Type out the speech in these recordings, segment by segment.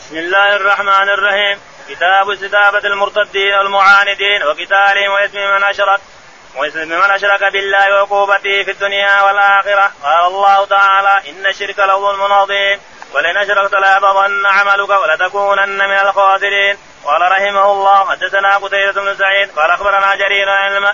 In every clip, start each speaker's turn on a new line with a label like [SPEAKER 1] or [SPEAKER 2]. [SPEAKER 1] بسم الله الرحمن الرحيم كتاب استتابة المرتدين والمعاندين وقتالهم واسم من أشرك واسم من أشرك بالله وعقوبته في الدنيا والآخرة قال الله تعالى إن الشرك لظلم عظيم ولئن أشركت ليحبطن عملك ولتكونن من الخاسرين قال رحمه الله حدثنا قتيبة بن سعيد قال أخبرنا جرير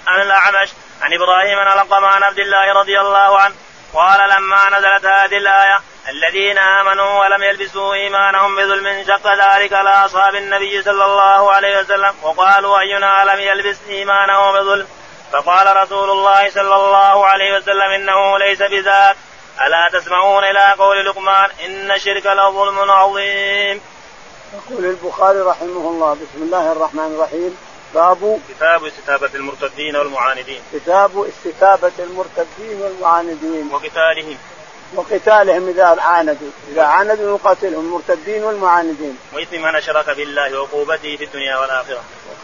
[SPEAKER 1] عن الأعمش عن إبراهيم عن علقمة عن عبد الله رضي الله عنه قال لما نزلت هذه الآية الذين آمنوا ولم يلبسوا إيمانهم بظلم شق ذلك على أصحاب النبي صلى الله عليه وسلم وقالوا أينا لم يلبس إيمانه بظلم فقال رسول الله صلى الله عليه وسلم إنه ليس بذاك ألا تسمعون إلى قول لقمان إن الشرك لظلم عظيم
[SPEAKER 2] يقول البخاري رحمه الله بسم الله الرحمن الرحيم باب
[SPEAKER 1] كتاب استتابة المرتدين والمعاندين
[SPEAKER 2] كتاب استتابة المرتدين والمعاندين
[SPEAKER 1] وقتالهم
[SPEAKER 2] وقتالهم إذا عاندوا إذا عاندوا نقاتلهم المرتدين والمعاندين
[SPEAKER 1] وإثم من أشرك بالله وعقوبته في الدنيا والآخرة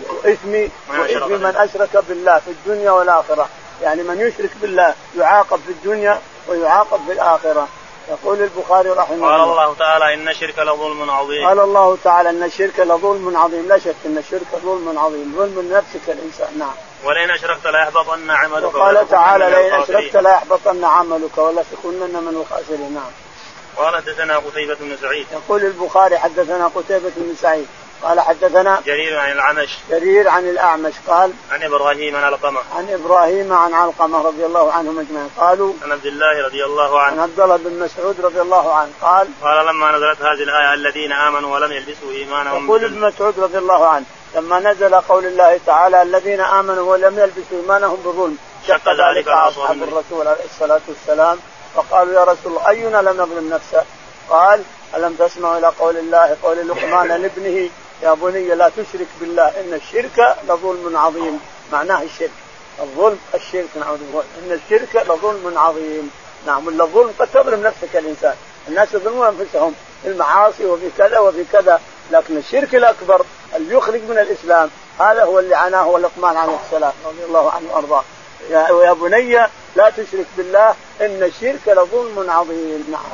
[SPEAKER 2] وإثم وإثم من أشرك بالله في الدنيا والآخرة يعني من يشرك بالله يعاقب في الدنيا ويعاقب في الآخرة يقول البخاري رحمه الله
[SPEAKER 1] قال الله تعالى ان الشرك لظلم عظيم
[SPEAKER 2] قال الله تعالى ان الشرك لظلم عظيم لا شك ان الشرك ظلم عظيم ظلم لنفسك الانسان نعم
[SPEAKER 1] ولئن اشركت ليحبطن عملك
[SPEAKER 2] وقال تعالى لئن اشركت ليحبطن عملك ولا تكونن من الخاسرين نعم
[SPEAKER 1] قال حدثنا قتيبة بن سعيد
[SPEAKER 2] يقول البخاري حدثنا قتيبة بن سعيد قال حدثنا
[SPEAKER 1] جرير عن العمش
[SPEAKER 2] جرير عن الأعمش قال
[SPEAKER 1] عن إبراهيم عن علقمة
[SPEAKER 2] عن إبراهيم عن علقمة رضي الله عنهم أجمعين قالوا
[SPEAKER 1] عن عبد الله رضي الله عنه
[SPEAKER 2] عن عبد الله بن مسعود رضي الله عنه قال
[SPEAKER 1] قال لما نزلت هذه الآية الذين آمنوا ولم يلبسوا إيمانهم
[SPEAKER 2] يقول ابن مسعود رضي الله عنه لما نزل قول الله تعالى الذين آمنوا ولم يلبسوا إيمانهم بظلم شق ذلك على أصحاب الرسول عليه الصلاة والسلام فقالوا يا رسول الله أينا لم نظلم نفسه قال ألم تسمعوا إلى قول الله قول لقمان لابنه يا بني لا تشرك بالله ان الشرك لظلم عظيم معناه الشرك الظلم الشرك نعوذ بالله ان الشرك لظلم عظيم نعم الظلم قد تظلم نفسك الانسان الناس يظلمون انفسهم في المعاصي وفي كذا وفي كذا لكن الشرك الاكبر اللي يخرج من الاسلام هذا هو اللي عناه لقمان عليه السلام رضي الله عنه وارضاه يا بني لا تشرك بالله ان الشرك لظلم عظيم نعم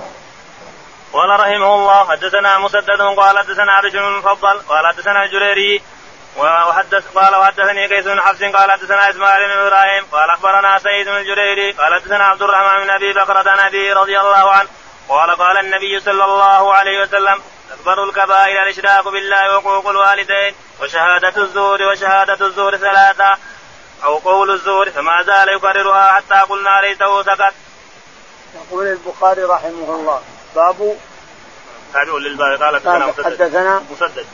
[SPEAKER 1] قال رحمه الله حدثنا مسدد قال حدثنا بشر المفضل قال حدثنا الجريري وحدث قال وحدثني قيس بن حفص قال حدثنا اسماعيل بن ابراهيم قال اخبرنا سعيد بن الجريري قال حدثنا عبد الرحمن بن ابي بكر عن ابي رضي الله عنه قال قال النبي صلى الله عليه وسلم اكبر الكبائر الاشراك بالله وحقوق الوالدين وشهادة الزور وشهادة الزور ثلاثة أو قول الزور فما زال يكررها حتى قلنا ليته سكت.
[SPEAKER 2] يقول البخاري رحمه الله باب
[SPEAKER 1] تابع للباب قال
[SPEAKER 2] حدثنا, حدثنا
[SPEAKER 1] مسدد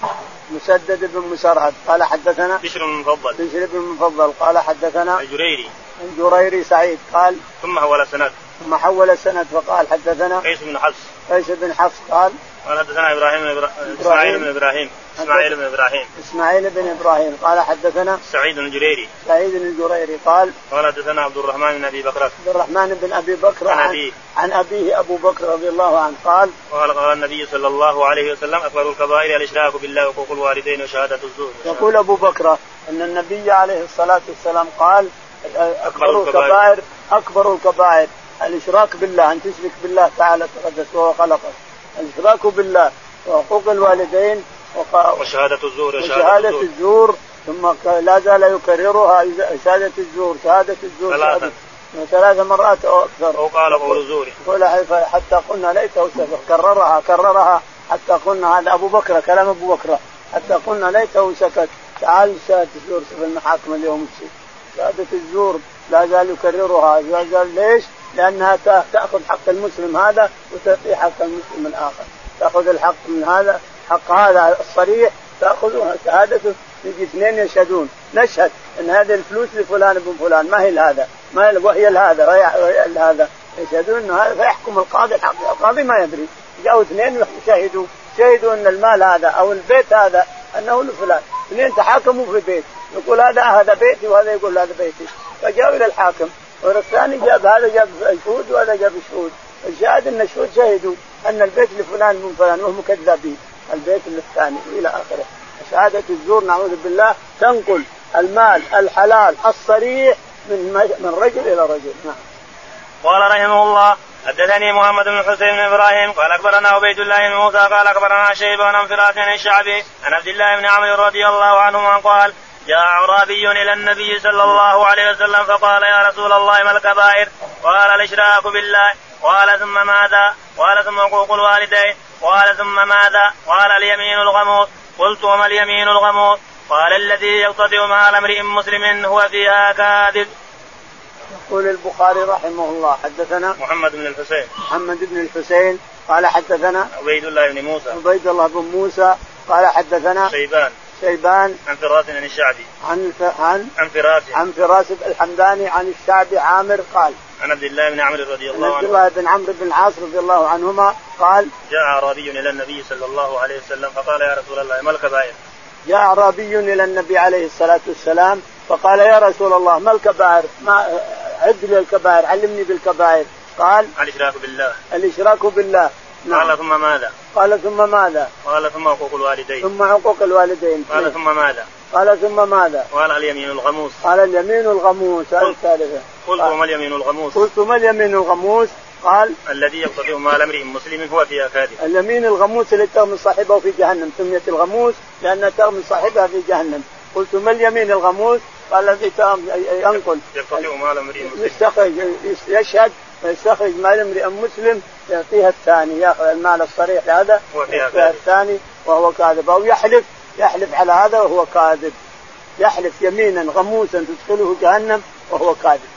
[SPEAKER 2] مسدد بن مسرهد قال حدثنا
[SPEAKER 1] بشر بن مفضل
[SPEAKER 2] بشر بن مفضل قال حدثنا
[SPEAKER 1] الجريري
[SPEAKER 2] الجريري سعيد قال
[SPEAKER 1] ثم حول السند
[SPEAKER 2] ثم حول السند فقال حدثنا
[SPEAKER 1] قيس بن حفص
[SPEAKER 2] قيس بن حفص قال
[SPEAKER 1] قال حدثنا ابراهيم اسماعيل بن ابراهيم اسماعيل بن ابراهيم
[SPEAKER 2] اسماعيل بن ابراهيم قال حدثنا
[SPEAKER 1] سعيد بن الجريري
[SPEAKER 2] سعيد بن الجريري قال
[SPEAKER 1] قال حدثنا عبد الرحمن بن ابي بكر
[SPEAKER 2] عبد الرحمن بن ابي بكر
[SPEAKER 1] عن ابيه
[SPEAKER 2] عن ابيه ابو بكر رضي الله عنه قال
[SPEAKER 1] قال قال النبي صلى الله عليه وسلم اكبر الكبائر الاشراك بالله وحقوق الوالدين وشهاده الزور
[SPEAKER 2] يقول ابو بكر ان النبي عليه الصلاه والسلام قال اكبر الكبائر اكبر الكبائر الاشراك بالله ان تشرك بالله تعالى تقدس وهو خلقك الاشراك بالله وحقوق الوالدين
[SPEAKER 1] وق... وشهادة الزور
[SPEAKER 2] وشهادة الزور. الزور ثم لا زال يكررها شهادة الزور شهادة الزور
[SPEAKER 1] ثلاثة
[SPEAKER 2] ثلاث مرات او اكثر
[SPEAKER 1] او قال قول الزور
[SPEAKER 2] قول حتى قلنا ليته سكت كررها كررها حتى قلنا هذا ابو بكر كلام ابو بكر حتى قلنا ليته سكت تعال شهادة الزور في المحاكم اليوم شهادة الزور لا زال يكررها لا زال ليش؟ لانها تاخذ حق المسلم هذا وتعطي حق المسلم الاخر تاخذ الحق من هذا حق هذا الصريح تاخذ شهادته يجي اثنين يشهدون نشهد ان هذه الفلوس لفلان بن فلان ما هي لهذا ما هي وهي لهذا وهي لهذا يشهدون ان هذا فيحكم القاضي الحق القاضي ما يدري جاءوا اثنين شهدوا شهدوا ان المال هذا او البيت هذا انه لفلان اثنين تحاكموا في بيت يقول هذا هذا بيتي وهذا يقول هذا بيتي فجاءوا الى الحاكم والثاني جاب هذا جاب شهود وهذا جاب شهود الشاهد ان الشهود شهدوا ان البيت لفلان من فلان وهم كذابين البيت الثاني الى اخره شهادة الزور نعوذ بالله تنقل المال الحلال الصريح من من رجل الى رجل نعم
[SPEAKER 1] قال رحمه الله حدثني محمد بن حسين بن ابراهيم قال اخبرنا عبيد الله بن موسى قال اخبرنا شيبه عن فراس عن الشعبي عن عبد الله بن عمرو رضي الله عنهما قال جاء اعرابي الى النبي صلى الله عليه وسلم فقال يا رسول الله ما الكبائر؟ قال الاشراك بالله قال ثم ماذا؟ قال ثم حقوق الوالدين قال ثم ماذا؟ قال اليمين الغموس قلت وما اليمين الغموس؟ قال الذي يقتطع مال امرئ مسلم هو فيها كاذب.
[SPEAKER 2] يقول البخاري رحمه الله حدثنا
[SPEAKER 1] محمد بن الحسين
[SPEAKER 2] محمد بن الحسين قال حدثنا
[SPEAKER 1] عبيد الله بن موسى
[SPEAKER 2] عبيد الله بن موسى قال حدثنا
[SPEAKER 1] شيبان
[SPEAKER 2] شيبان
[SPEAKER 1] عن فراس عن الشعبي
[SPEAKER 2] عن ف... عن
[SPEAKER 1] عن فراس
[SPEAKER 2] عن فراس الحمداني عن الشعبي عامر قال
[SPEAKER 1] عن عبد الله بن عمرو رضي
[SPEAKER 2] عن
[SPEAKER 1] الله
[SPEAKER 2] عبد
[SPEAKER 1] عنه
[SPEAKER 2] الله بن عمرو بن العاص رضي الله عنهما قال
[SPEAKER 1] جاء اعرابي الى النبي صلى الله عليه وسلم فقال يا رسول الله ما الكبائر؟
[SPEAKER 2] جاء اعرابي الى النبي عليه الصلاه والسلام فقال يا رسول الله ما الكبائر؟ ما عد لي الكبائر علمني بالكبائر قال
[SPEAKER 1] الاشراك بالله
[SPEAKER 2] الاشراك بالله
[SPEAKER 1] قال
[SPEAKER 2] نعم
[SPEAKER 1] ثم ماذا؟
[SPEAKER 2] قال ثم ماذا؟
[SPEAKER 1] قال ثم حقوق الوالدين
[SPEAKER 2] ثم حقوق الوالدين إيه.
[SPEAKER 1] قال ثم ماذا؟
[SPEAKER 2] قال ثم ماذا؟
[SPEAKER 1] قال اليمين الغموس
[SPEAKER 2] قال اليمين الغموس هذه الثالثة
[SPEAKER 1] قلت وما اليمين الغموس؟
[SPEAKER 2] قلت ما اليمين الغموس؟ قال
[SPEAKER 1] الذي يقتطع مال امرئ مسلم هو فيها كاذب
[SPEAKER 2] اليمين الغموس التي تغمي صاحبه في جهنم سميت الغموس لأنها تغمي صاحبها في جهنم قلت ما اليمين الغموس؟ قال الذي تغم- ينقل
[SPEAKER 1] يقتطع مال امرئ مسلم
[SPEAKER 2] يستخرج يشهد ويستخرج مال امرئ مسلم يعطيها الثاني ياخذ المال الصريح هذا
[SPEAKER 1] هو فيها
[SPEAKER 2] يعطيها
[SPEAKER 1] كاذب.
[SPEAKER 2] الثاني وهو كاذب او يحلف يحلف على هذا وهو كاذب يحلف يمينا غموسا تدخله جهنم وهو كاذب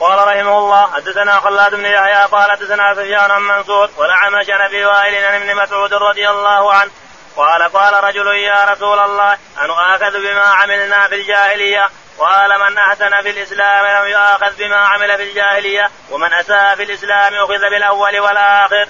[SPEAKER 1] قال رحمه الله حدثنا خلاد بن يحيى قال حدثنا سفيان عن منصور والأعمش عن ابي وائل عن ابن مسعود رضي الله عنه قال قال رجل يا رسول الله أن آخذ بما عملنا في الجاهلية قال من أحسن في الإسلام لم يؤاخذ بما عمل في الجاهلية ومن أساء في الإسلام أخذ بالأول والآخر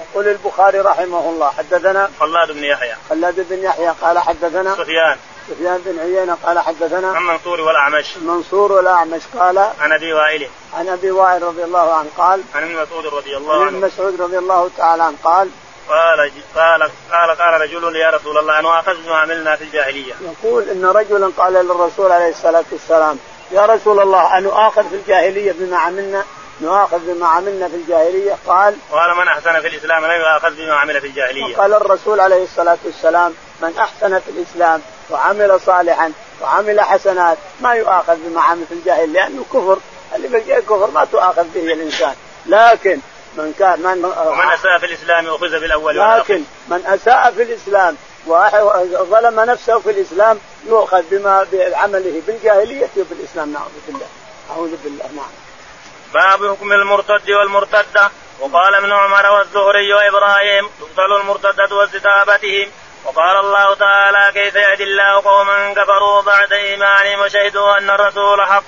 [SPEAKER 2] يقول البخاري رحمه الله حدثنا
[SPEAKER 1] خلاد بن يحيى
[SPEAKER 2] خلاد بن يحيى قال حدثنا
[SPEAKER 1] سفيان
[SPEAKER 2] سفيان بن عيينه قال
[SPEAKER 1] عن
[SPEAKER 2] حدثنا
[SPEAKER 1] منصور والأعمش
[SPEAKER 2] منصور والاعمش قال
[SPEAKER 1] عن ابي وائل
[SPEAKER 2] عن ابي وائل رضي الله عنه قال
[SPEAKER 1] عن ابن مسعود رضي الله
[SPEAKER 2] عن
[SPEAKER 1] عنه
[SPEAKER 2] ابن مسعود رضي الله تعالى عنه قال
[SPEAKER 1] قال قال قال قال رجل يا رسول الله أن آخذ بما عملنا في الجاهلية
[SPEAKER 2] يقول ان رجلا قال للرسول عليه الصلاه والسلام يا رسول الله ان اؤاخذ في الجاهليه بما عملنا نؤاخذ بما عملنا في الجاهليه قال
[SPEAKER 1] قال من احسن في الاسلام لم يؤاخذ بما عمل في الجاهليه.
[SPEAKER 2] وقال الرسول عليه الصلاه والسلام من احسن في الاسلام وعمل صالحا وعمل حسنات ما يؤاخذ بما عمل في الجاهل لانه كفر اللي في الجاهل كفر ما تؤاخذ به الانسان لكن من كان من
[SPEAKER 1] ومن اساء في الاسلام اخذ بالاول والاخر.
[SPEAKER 2] لكن من اساء في الاسلام وظلم نفسه في الاسلام يؤخذ بما بعمله بالجاهليه وبالاسلام نعوذ بالله اعوذ بالله نعم
[SPEAKER 1] باب حكم المرتد والمرتده وقال ابن عمر والزهري وابراهيم تقتل المرتده واستتابتهم وقال الله تعالى كيف يهدي الله قوما كفروا بعد ايمانهم وشهدوا ان الرسول حق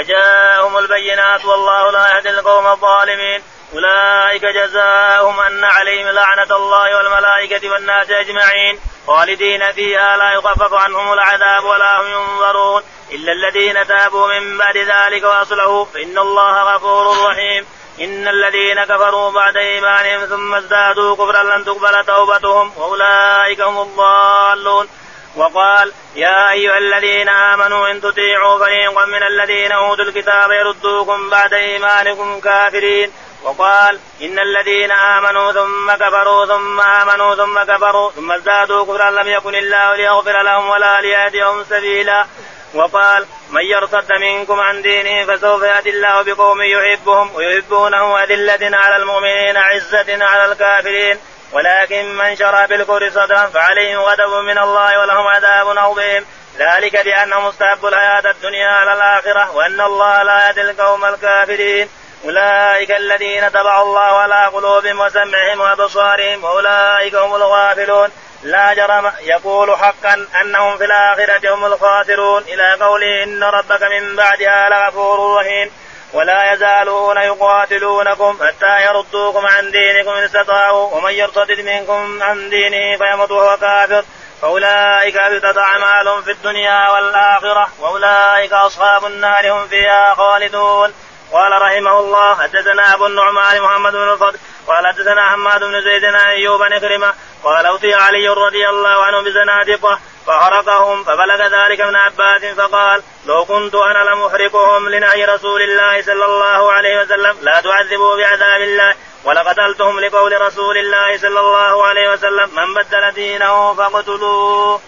[SPEAKER 1] وجاءهم البينات والله لا يهدي القوم الظالمين اولئك جزاؤهم ان عليهم لعنه الله والملائكه والناس اجمعين خالدين فيها لا يخفف عنهم العذاب ولا هم ينظرون إلا الذين تابوا من بعد ذلك وأصلحوا فإن الله غفور رحيم إن الذين كفروا بعد إيمانهم ثم ازدادوا كفرا لن تقبل توبتهم وأولئك هم الضالون وقال يا أيها الذين آمنوا إن تطيعوا فريقا من الذين أوتوا الكتاب يردوكم بعد إيمانكم كافرين وقال إن الذين آمنوا ثم كفروا ثم آمنوا ثم كفروا ثم ازدادوا كفرا لم يكن الله ليغفر لهم ولا ليهديهم سبيلا وقال من يرتد منكم عن دينه فسوف يأتي الله بقوم يحبهم ويحبونه أذلة على المؤمنين عزة على الكافرين ولكن من شرى بالكفر صدرا فعليهم غضب من الله ولهم عذاب عظيم ذلك بأنهم استحبوا الحياة الدنيا على الآخرة وأن الله لا يهدي القوم الكافرين أولئك الذين تبع الله على قلوبهم وسمعهم وأبصارهم وأولئك هم الغافلون لا جرم يقول حقا أنهم في الآخرة هم الخاسرون إلى قوله إن ربك من بعدها لغفور رحيم ولا يزالون يقاتلونكم حتى يردوكم عن دينكم إن استطاعوا ومن يرتد منكم عن دينه فيمت وهو كافر فأولئك أبتد أعمالهم في الدنيا والآخرة وأولئك أصحاب النار هم فيها خالدون قال رحمه الله حدثنا ابو النعمان محمد بن الفضل قال حدثنا حماد بن زيد عن ايوب بن كرمه قال اوتي علي رضي الله عنه بزنادقه فحرقهم فبلغ ذلك ابن عباس فقال لو كنت انا لمحرقهم لنهي رسول الله صلى الله عليه وسلم لا تعذبوا بعذاب الله ولقتلتهم لقول رسول الله صلى الله عليه وسلم من بدل دينه فاقتلوه.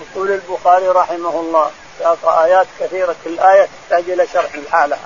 [SPEAKER 2] يقول البخاري رحمه الله ساق ايات كثيره الايه آية تحتاج الى شرح لحالها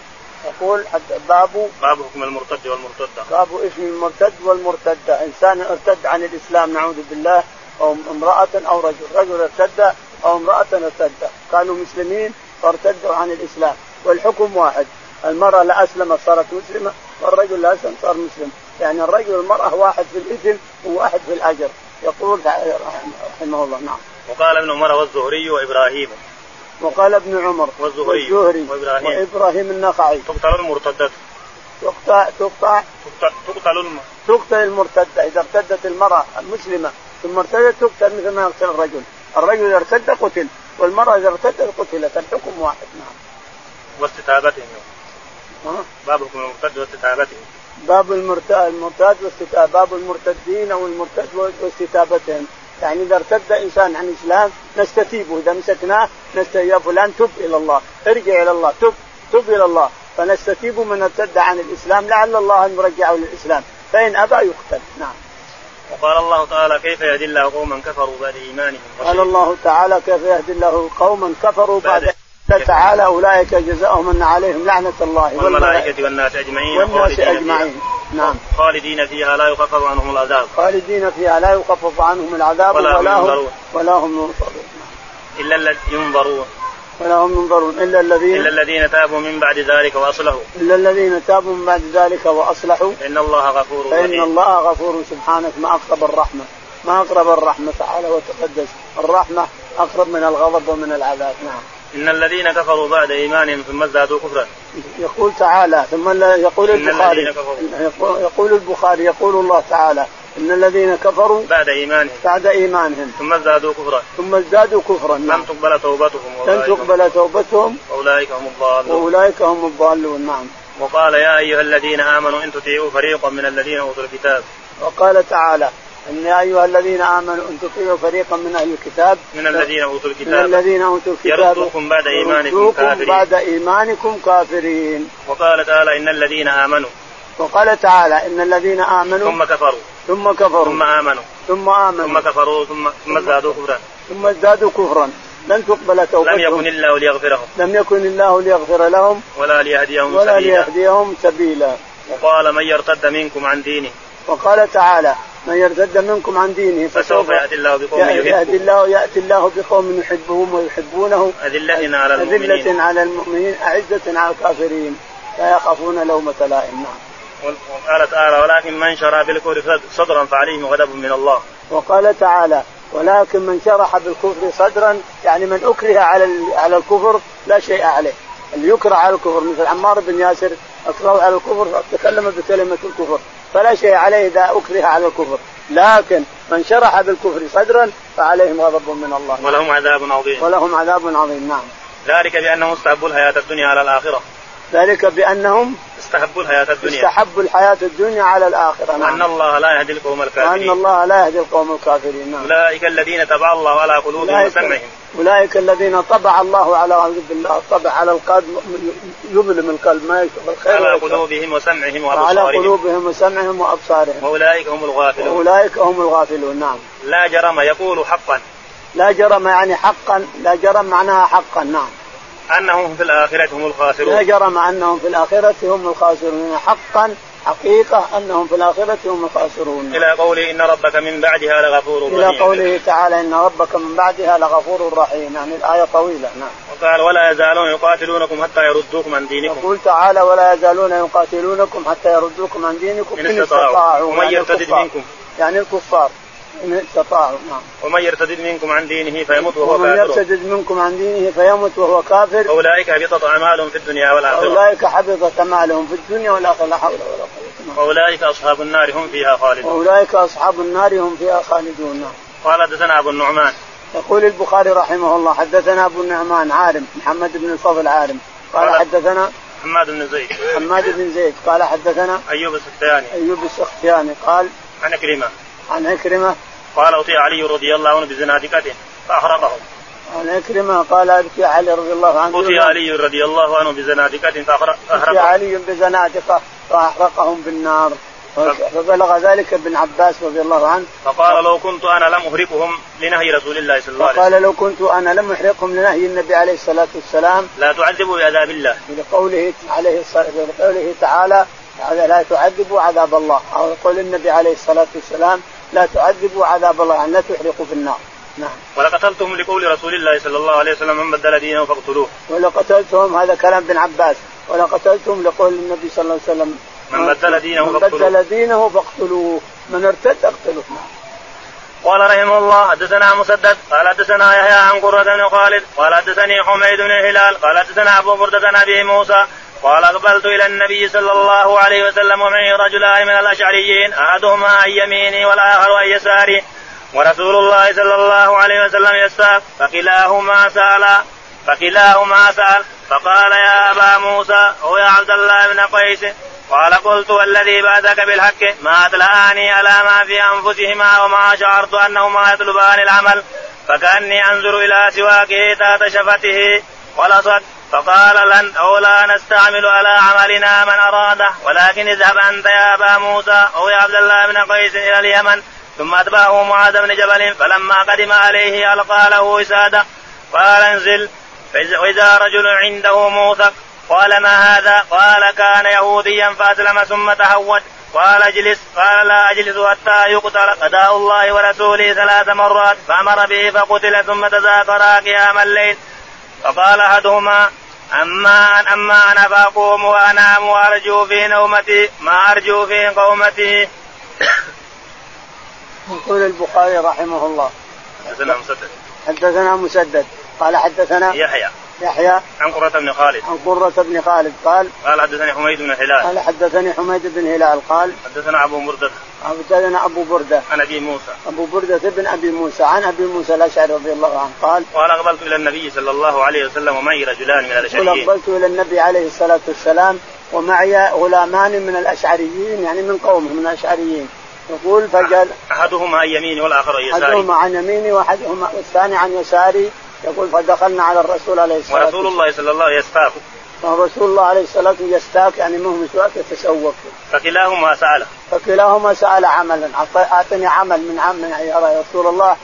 [SPEAKER 2] يقول حتى باب
[SPEAKER 1] باب حكم المرتد والمرتده.
[SPEAKER 2] باب اسم المرتد والمرتده انسان ارتد عن الاسلام نعوذ بالله او امراه او رجل، رجل ارتد او امراه ارتد، كانوا مسلمين فارتدوا عن الاسلام والحكم واحد، المراه لا اسلمت صارت مسلمه والرجل لا اسلم صار مسلم، يعني الرجل والمراه واحد في الاثم وواحد في الاجر، يقول رحمه الله نعم.
[SPEAKER 1] وقال ابن عمر والزهري وابراهيم
[SPEAKER 2] وقال ابن عمر
[SPEAKER 1] والزهري
[SPEAKER 2] والزهري
[SPEAKER 1] وإبراهيم.
[SPEAKER 2] وابراهيم النخعي
[SPEAKER 1] تقتل المرتدة
[SPEAKER 2] تقطع تقطع
[SPEAKER 1] تقتل تقتل الم-
[SPEAKER 2] تقتل المرتدة إذا ارتدت المرأة المسلمة ثم ارتدت تقتل مثل ما يقتل الرجل الرجل إذا ارتد قتل والمرأة إذا ارتدت قتلت الحكم واحد نعم أه؟
[SPEAKER 1] واستتابتهم
[SPEAKER 2] ها؟
[SPEAKER 1] باب حكم المرتد واستتابتهم
[SPEAKER 2] باب المرتد المرتد واستتاب باب المرتدين او المرتد واستتابتهم يعني اذا ارتد انسان عن الاسلام نستتيبه اذا مسكناه نست يا فلان تب الى الله ارجع الى الله تب تب الى الله فنستتيب من ارتد عن الاسلام لعل الله ان يرجعه للاسلام فان ابى يقتل نعم
[SPEAKER 1] وقال الله تعالى كيف يهدي الله قوما كفروا بعد ايمانهم
[SPEAKER 2] قال الله تعالى كيف يهدي الله قوما كفروا بعد
[SPEAKER 1] بعد-
[SPEAKER 2] قال تعالى اولئك جزاؤهم ان عليهم لعنه الله
[SPEAKER 1] والملائكة والناس اجمعين
[SPEAKER 2] والناس
[SPEAKER 1] خالدين
[SPEAKER 2] اجمعين
[SPEAKER 1] فيها.
[SPEAKER 2] نعم
[SPEAKER 1] خالدين فيها لا يخفف عنهم العذاب
[SPEAKER 2] خالدين فيها لا يخفف عنهم العذاب
[SPEAKER 1] ولا هم
[SPEAKER 2] ولا هم
[SPEAKER 1] ينظرون.
[SPEAKER 2] ولا هم ينصرون
[SPEAKER 1] الا الذين ينظرون
[SPEAKER 2] ولا هم ينظرون
[SPEAKER 1] الا
[SPEAKER 2] الا الذين
[SPEAKER 1] الذين تابوا من بعد ذلك واصلحوا
[SPEAKER 2] الا الذين تابوا من بعد ذلك واصلحوا
[SPEAKER 1] فان الله غفور
[SPEAKER 2] فان
[SPEAKER 1] رحيم
[SPEAKER 2] الله غفور سبحانك ما اقرب الرحمه ما اقرب الرحمه تعالى وتقدس الرحمه اقرب من الغضب ومن العذاب نعم
[SPEAKER 1] ان الذين كفروا بعد ايمانهم ثم ازدادوا كفرا
[SPEAKER 2] يقول تعالى ثم لا- يقول
[SPEAKER 1] إن
[SPEAKER 2] البخاري
[SPEAKER 1] الذين كفروا.
[SPEAKER 2] يقول- يقول البخاري يقول الله تعالى ان الذين كفروا
[SPEAKER 1] بعد ايمانهم
[SPEAKER 2] بعد ايمانهم
[SPEAKER 1] ثم ازدادوا كفرا
[SPEAKER 2] ثم ازدادوا كفرا
[SPEAKER 1] لم
[SPEAKER 2] نعم
[SPEAKER 1] تقبل توبتهم
[SPEAKER 2] لن
[SPEAKER 1] وأولئك-
[SPEAKER 2] تقبل توبتهم
[SPEAKER 1] واولئك هم الضالون
[SPEAKER 2] واولئك هم الضالون نعم
[SPEAKER 1] وقال يا أيها الذين آمنوا إن تطيعوا فريقا من الذين أوتوا الكتاب
[SPEAKER 2] وقال تعالى ان يا ايها الذين امنوا ان تطيعوا فريقا من اهل الكتاب
[SPEAKER 1] من الذين أوتوا
[SPEAKER 2] من
[SPEAKER 1] الكتاب
[SPEAKER 2] الذين اوتوا الكتاب
[SPEAKER 1] يردوكم بعد إيمانكم
[SPEAKER 2] يردوكم
[SPEAKER 1] كافرين.
[SPEAKER 2] بعد ايمانكم كافرين
[SPEAKER 1] وقال تعالى إن الذين آمنوا
[SPEAKER 2] وقال تعالى ان الذين امنوا
[SPEAKER 1] ثم كفروا
[SPEAKER 2] ثم كفروا
[SPEAKER 1] ثم آمنوا
[SPEAKER 2] ثم امنوا
[SPEAKER 1] ثم كفروا ثم ثم ازدادوا كفرا
[SPEAKER 2] ثم ازدادوا كفرا لن تقبل توبتهم
[SPEAKER 1] لم يكن الله ليغفرهم
[SPEAKER 2] لم يكن الله ليغفر لهم
[SPEAKER 1] ولا ليهديهم
[SPEAKER 2] ولا
[SPEAKER 1] سبيلا
[SPEAKER 2] ليهديهم سبيلا
[SPEAKER 1] وقال من يرتد منكم عن دينه
[SPEAKER 2] وقال تعالى من يرتد منكم عن دينه
[SPEAKER 1] فسوف
[SPEAKER 2] فسوف
[SPEAKER 1] يأتي الله بقوم
[SPEAKER 2] يأتي
[SPEAKER 1] يحبون
[SPEAKER 2] الله يأتي الله بقوم يحبهم ويحبونه
[SPEAKER 1] أذلة على المؤمنين
[SPEAKER 2] أذلة على المؤمنين أعزة على الكافرين لا يخافون لومة لائم نعم
[SPEAKER 1] وقال تعالى ولكن من شرع بالكفر صدرا فعليهم غضب من الله
[SPEAKER 2] وقال تعالى ولكن من شرح بالكفر صدرا يعني من اكره على ال- على الكفر لا شيء عليه اللي يكره على الكفر مثل عمار بن ياسر اكرهه على الكفر تكلم بكلمه الكفر فلا شيء عليه اذا اكره على الكفر لكن من شرح بالكفر صدرا فعليهم غضب من الله
[SPEAKER 1] ولهم عذاب عظيم
[SPEAKER 2] ولهم عذاب عظيم نعم
[SPEAKER 1] ذلك بأنهم استحبوا الحياة الدنيا على الآخرة
[SPEAKER 2] ذلك بانهم
[SPEAKER 1] استحبوا الحياة الدنيا
[SPEAKER 2] استحبوا الحياه الدنيا على الاخره
[SPEAKER 1] وأن
[SPEAKER 2] نعم
[SPEAKER 1] الله لا يهدي القوم
[SPEAKER 2] وان
[SPEAKER 1] الكافرين
[SPEAKER 2] الله لا يهدي القوم الكافرين نعم
[SPEAKER 1] أولئك الذين تبع الله على قلوبهم
[SPEAKER 2] أولئك,
[SPEAKER 1] وسمعهم
[SPEAKER 2] أولئك الذين طبع الله على أعوذ بالله طبع على القلب يظلم القلب ما يشوف الخير
[SPEAKER 1] على
[SPEAKER 2] ولا الشر.
[SPEAKER 1] قلوبهم وسمعهم
[SPEAKER 2] على
[SPEAKER 1] وأبصارهم
[SPEAKER 2] قلوبهم وسمعهم وأبصارهم
[SPEAKER 1] وأولئك هم الغافلون
[SPEAKER 2] وأولئك هم الغافلون نعم
[SPEAKER 1] لا جرم يقول حقا
[SPEAKER 2] لا جرم يعني حقا لا جرم معناها حقا نعم
[SPEAKER 1] أنهم في الآخرة هم
[SPEAKER 2] لا
[SPEAKER 1] الخاسرون
[SPEAKER 2] جرم أنهم في الآخرة هم الخاسرون حقا حقيقة أنهم في الآخرة هم الخاسرون
[SPEAKER 1] إلى قوله إن ربك من بعدها لغفور
[SPEAKER 2] إلى
[SPEAKER 1] رحيم
[SPEAKER 2] قوله تعالى إن ربك من بعدها لغفور رحيم يعني الآية طويلة نعم
[SPEAKER 1] وقال ولا يزالون يقاتلونكم حتى يردوكم عن دينكم
[SPEAKER 2] يقول تعالى ولا يزالون يقاتلونكم حتى يردوكم عن دينكم
[SPEAKER 1] إن استطاعوا ومن
[SPEAKER 2] يعني
[SPEAKER 1] يرتد
[SPEAKER 2] الكفار.
[SPEAKER 1] منكم
[SPEAKER 2] يعني الكفار ان استطاعوا نعم
[SPEAKER 1] ومن يرتد منكم عن دينه فيمت وهو
[SPEAKER 2] ومن
[SPEAKER 1] كافر
[SPEAKER 2] يرتد منكم عن دينه فيمت وهو كافر
[SPEAKER 1] أولئك هبطت أعمالهم في الدنيا والآخرة
[SPEAKER 2] اولئك حبطت اعمالهم في الدنيا والاخره لا حول ولا قوه إلا بالله.
[SPEAKER 1] وأولئك أصحاب النار هم فيها خالدون
[SPEAKER 2] واولئك اصحاب النار هم فيها خالدون نعم.
[SPEAKER 1] قال حدثنا أبو النعمان
[SPEAKER 2] يقول البخاري رحمه الله حدثنا ابو النعمان عارم محمد بن الفضل عارم قال
[SPEAKER 1] قال-
[SPEAKER 2] حدثنا
[SPEAKER 1] حماد بن زيد
[SPEAKER 2] حماد بن زيد قال حدثنا
[SPEAKER 1] أيوب السختياني
[SPEAKER 2] ايوب السختياني قال
[SPEAKER 1] عن كلمة
[SPEAKER 2] عن عكرمه
[SPEAKER 1] قال أطيع علي رضي الله عنه بزنادقته فأحرقهم
[SPEAKER 2] عن عكرمة قال أبكي علي رضي الله عنه
[SPEAKER 1] أتي علي رضي الله عنه بزنادقة
[SPEAKER 2] أتي
[SPEAKER 1] فأحرقهم
[SPEAKER 2] علي بزنادقة فأحرقهم بالنار فبلغ ذلك ابن عباس رضي الله عنه
[SPEAKER 1] فقال لو كنت أنا لم أهرقهم لنهي رسول الله صلى الله عليه وسلم
[SPEAKER 2] فقال لو كنت أنا لم أحرقهم لنهي النبي عليه الصلاة والسلام
[SPEAKER 1] لا تعذبوا بعذاب الله
[SPEAKER 2] لقوله عليه الصلاة لقوله تعالى لا تعذبوا عذاب الله أو قول النبي عليه الصلاة والسلام لا تعذبوا عذاب الله يعني لا تحرقوا في النار نعم
[SPEAKER 1] ولقتلتهم لقول رسول الله صلى الله عليه وسلم من بدل دينه فاقتلوه
[SPEAKER 2] ولقتلتهم هذا كلام ابن عباس ولقتلتهم لقول النبي صلى الله عليه وسلم
[SPEAKER 1] من بدل دينه
[SPEAKER 2] من
[SPEAKER 1] فاقتلوه.
[SPEAKER 2] بدل دينه فاقتلوه من ارتد اقتلوه
[SPEAKER 1] قال رحمه الله حدثنا مسدد قال حدثنا يحيى عن قرة بن خالد قال حدثني حميد بن هلال قال حدثنا ابو برده عن ابي موسى قال اقبلت الى النبي صلى الله عليه وسلم ومعي رجلان من الاشعريين احدهما عن يميني والاخر عن يساري ورسول الله صلى الله عليه وسلم يسال فكلاهما سالا فكلاهما سال فقال يا ابا موسى او يا عبد الله بن قيس قال قلت والذي بعثك بالحق ما أدلآني على ما في أنفسهما وما شعرت أنهما يطلبان العمل فكأني أنظر إلى سواكه ذات شفته ولصد فقال لن أو لا نستعمل على عملنا من أراده ولكن اذهب أنت يا أبا موسى أو يا عبد الله بن قيس إلى اليمن ثم أتبعه معاذ بن جبل فلما قدم عليه ألقى له وسادة قال انزل فإذا- وإذا رجل عنده موثق قال ما هذا قال كان يهوديا فأسلم ثم تهود قال اجلس قال لا أجلس حتى يقتل قضاء الله ورسوله ثلاث مرات فأمر به فقتل ثم تذاكرا قيام الليل فقال أحدهما أما أن أما أنا فأقوم وأنام وأرجو في نومتي ما أرجو في قومتي
[SPEAKER 2] يقول البخاري رحمه الله حدثنا مسدد قال حدثنا
[SPEAKER 1] يحيى
[SPEAKER 2] يحيى
[SPEAKER 1] عن قرة بن خالد
[SPEAKER 2] عن قرة بن خالد قال
[SPEAKER 1] قال حدثني حميد بن هلال
[SPEAKER 2] قال حدثني حميد بن هلال قال
[SPEAKER 1] حدثنا أبو مردد
[SPEAKER 2] حدثنا أبو بردة
[SPEAKER 1] عن أبي موسى
[SPEAKER 2] أبو بردة بن أبي موسى عن أبي موسى الأشعري رضي الله عنه قال
[SPEAKER 1] قال أقبلت إلى النبي صلى الله عليه وسلم ومعي رجلان من
[SPEAKER 2] قل
[SPEAKER 1] الأشعريين
[SPEAKER 2] أقبلت إلى النبي عليه الصلاة والسلام ومعي غلامان من الأشعريين يعني من قومه من الأشعريين يقول فجل
[SPEAKER 1] أحدهما عن يميني والآخر عن يساري
[SPEAKER 2] أحدهما عن يميني وأحدهما والثاني عن يساري يقول فدخلنا على الرسول عليه الصلاة
[SPEAKER 1] ورسول الله صلى الله عليه وسلم
[SPEAKER 2] ورسول الله عليه الصلاة والسلام يستاك يعني منه مسواك يتسوق
[SPEAKER 1] فكلاهما سأله
[SPEAKER 2] فكلاهما سأل عملا أعط- أعطني عمل من عم يعني يا رسول الله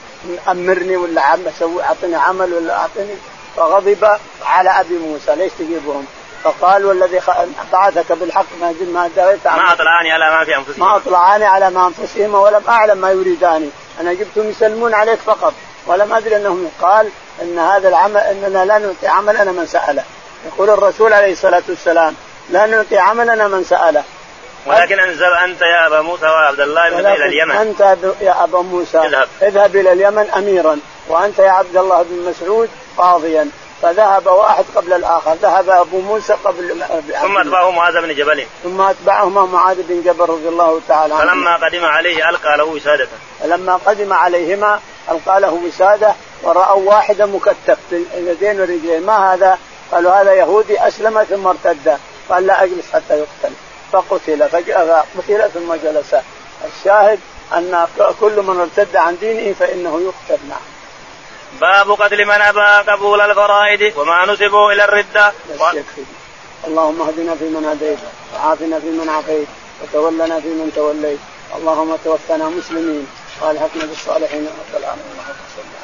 [SPEAKER 2] أمرني ولا عم سوي أعطني عمل ولا أعطني فغضب على أبي موسى ليش تجيبهم فقال والذي خ... بعثك بالحق ما جد ما دريت عن
[SPEAKER 1] ما أطلعني على ما في
[SPEAKER 2] ما
[SPEAKER 1] أنفسهم
[SPEAKER 2] أطلعان على ما أنفسهما ولم أعلم ما يريدان أنا جبتهم يسلمون عليك فقط ولم أدري أنهم قال أن هذا العمل أننا لا نعطي عملنا من سأله يقول الرسول عليه الصلاة والسلام لا نعطي عملنا من سأله
[SPEAKER 1] ولكن أنزل أنت يا أبا موسى وعبد الله بن إلى
[SPEAKER 2] ولكن
[SPEAKER 1] اليمن
[SPEAKER 2] أنت ب- يا أبا موسى
[SPEAKER 1] اذهب.
[SPEAKER 2] اذهب إلى اليمن أميرا وأنت يا عبد الله بن مسعود قاضيا فذهب واحد قبل الآخر ذهب أبو موسى قبل
[SPEAKER 1] ثم أتبعه معاذ بن جبل
[SPEAKER 2] ثم أتبعهما معاذ بن جبل رضي الله تعالى عنه
[SPEAKER 1] فلما قدم عليه ألقى له وسادة
[SPEAKER 2] فلما قدم عليهما القى له وساده وراوا واحدا مكتف باليدين والرجلين ما هذا؟ قالوا هذا يهودي اسلم ثم ارتد قال لا اجلس حتى يقتل فقتل فجاء قتل ثم جلس الشاهد ان كل من ارتد عن دينه فانه يقتل نعم
[SPEAKER 1] باب قتل من أبى قبول الفرائض وما نسبوا إلى الردة
[SPEAKER 2] بس يكفي اللهم اهدنا فيمن هديت وعافنا فيمن عافيت وتولنا فيمن توليت اللهم توفنا مسلمين والحقنا بالصالحين رب العالمين اللهم صل وسلم.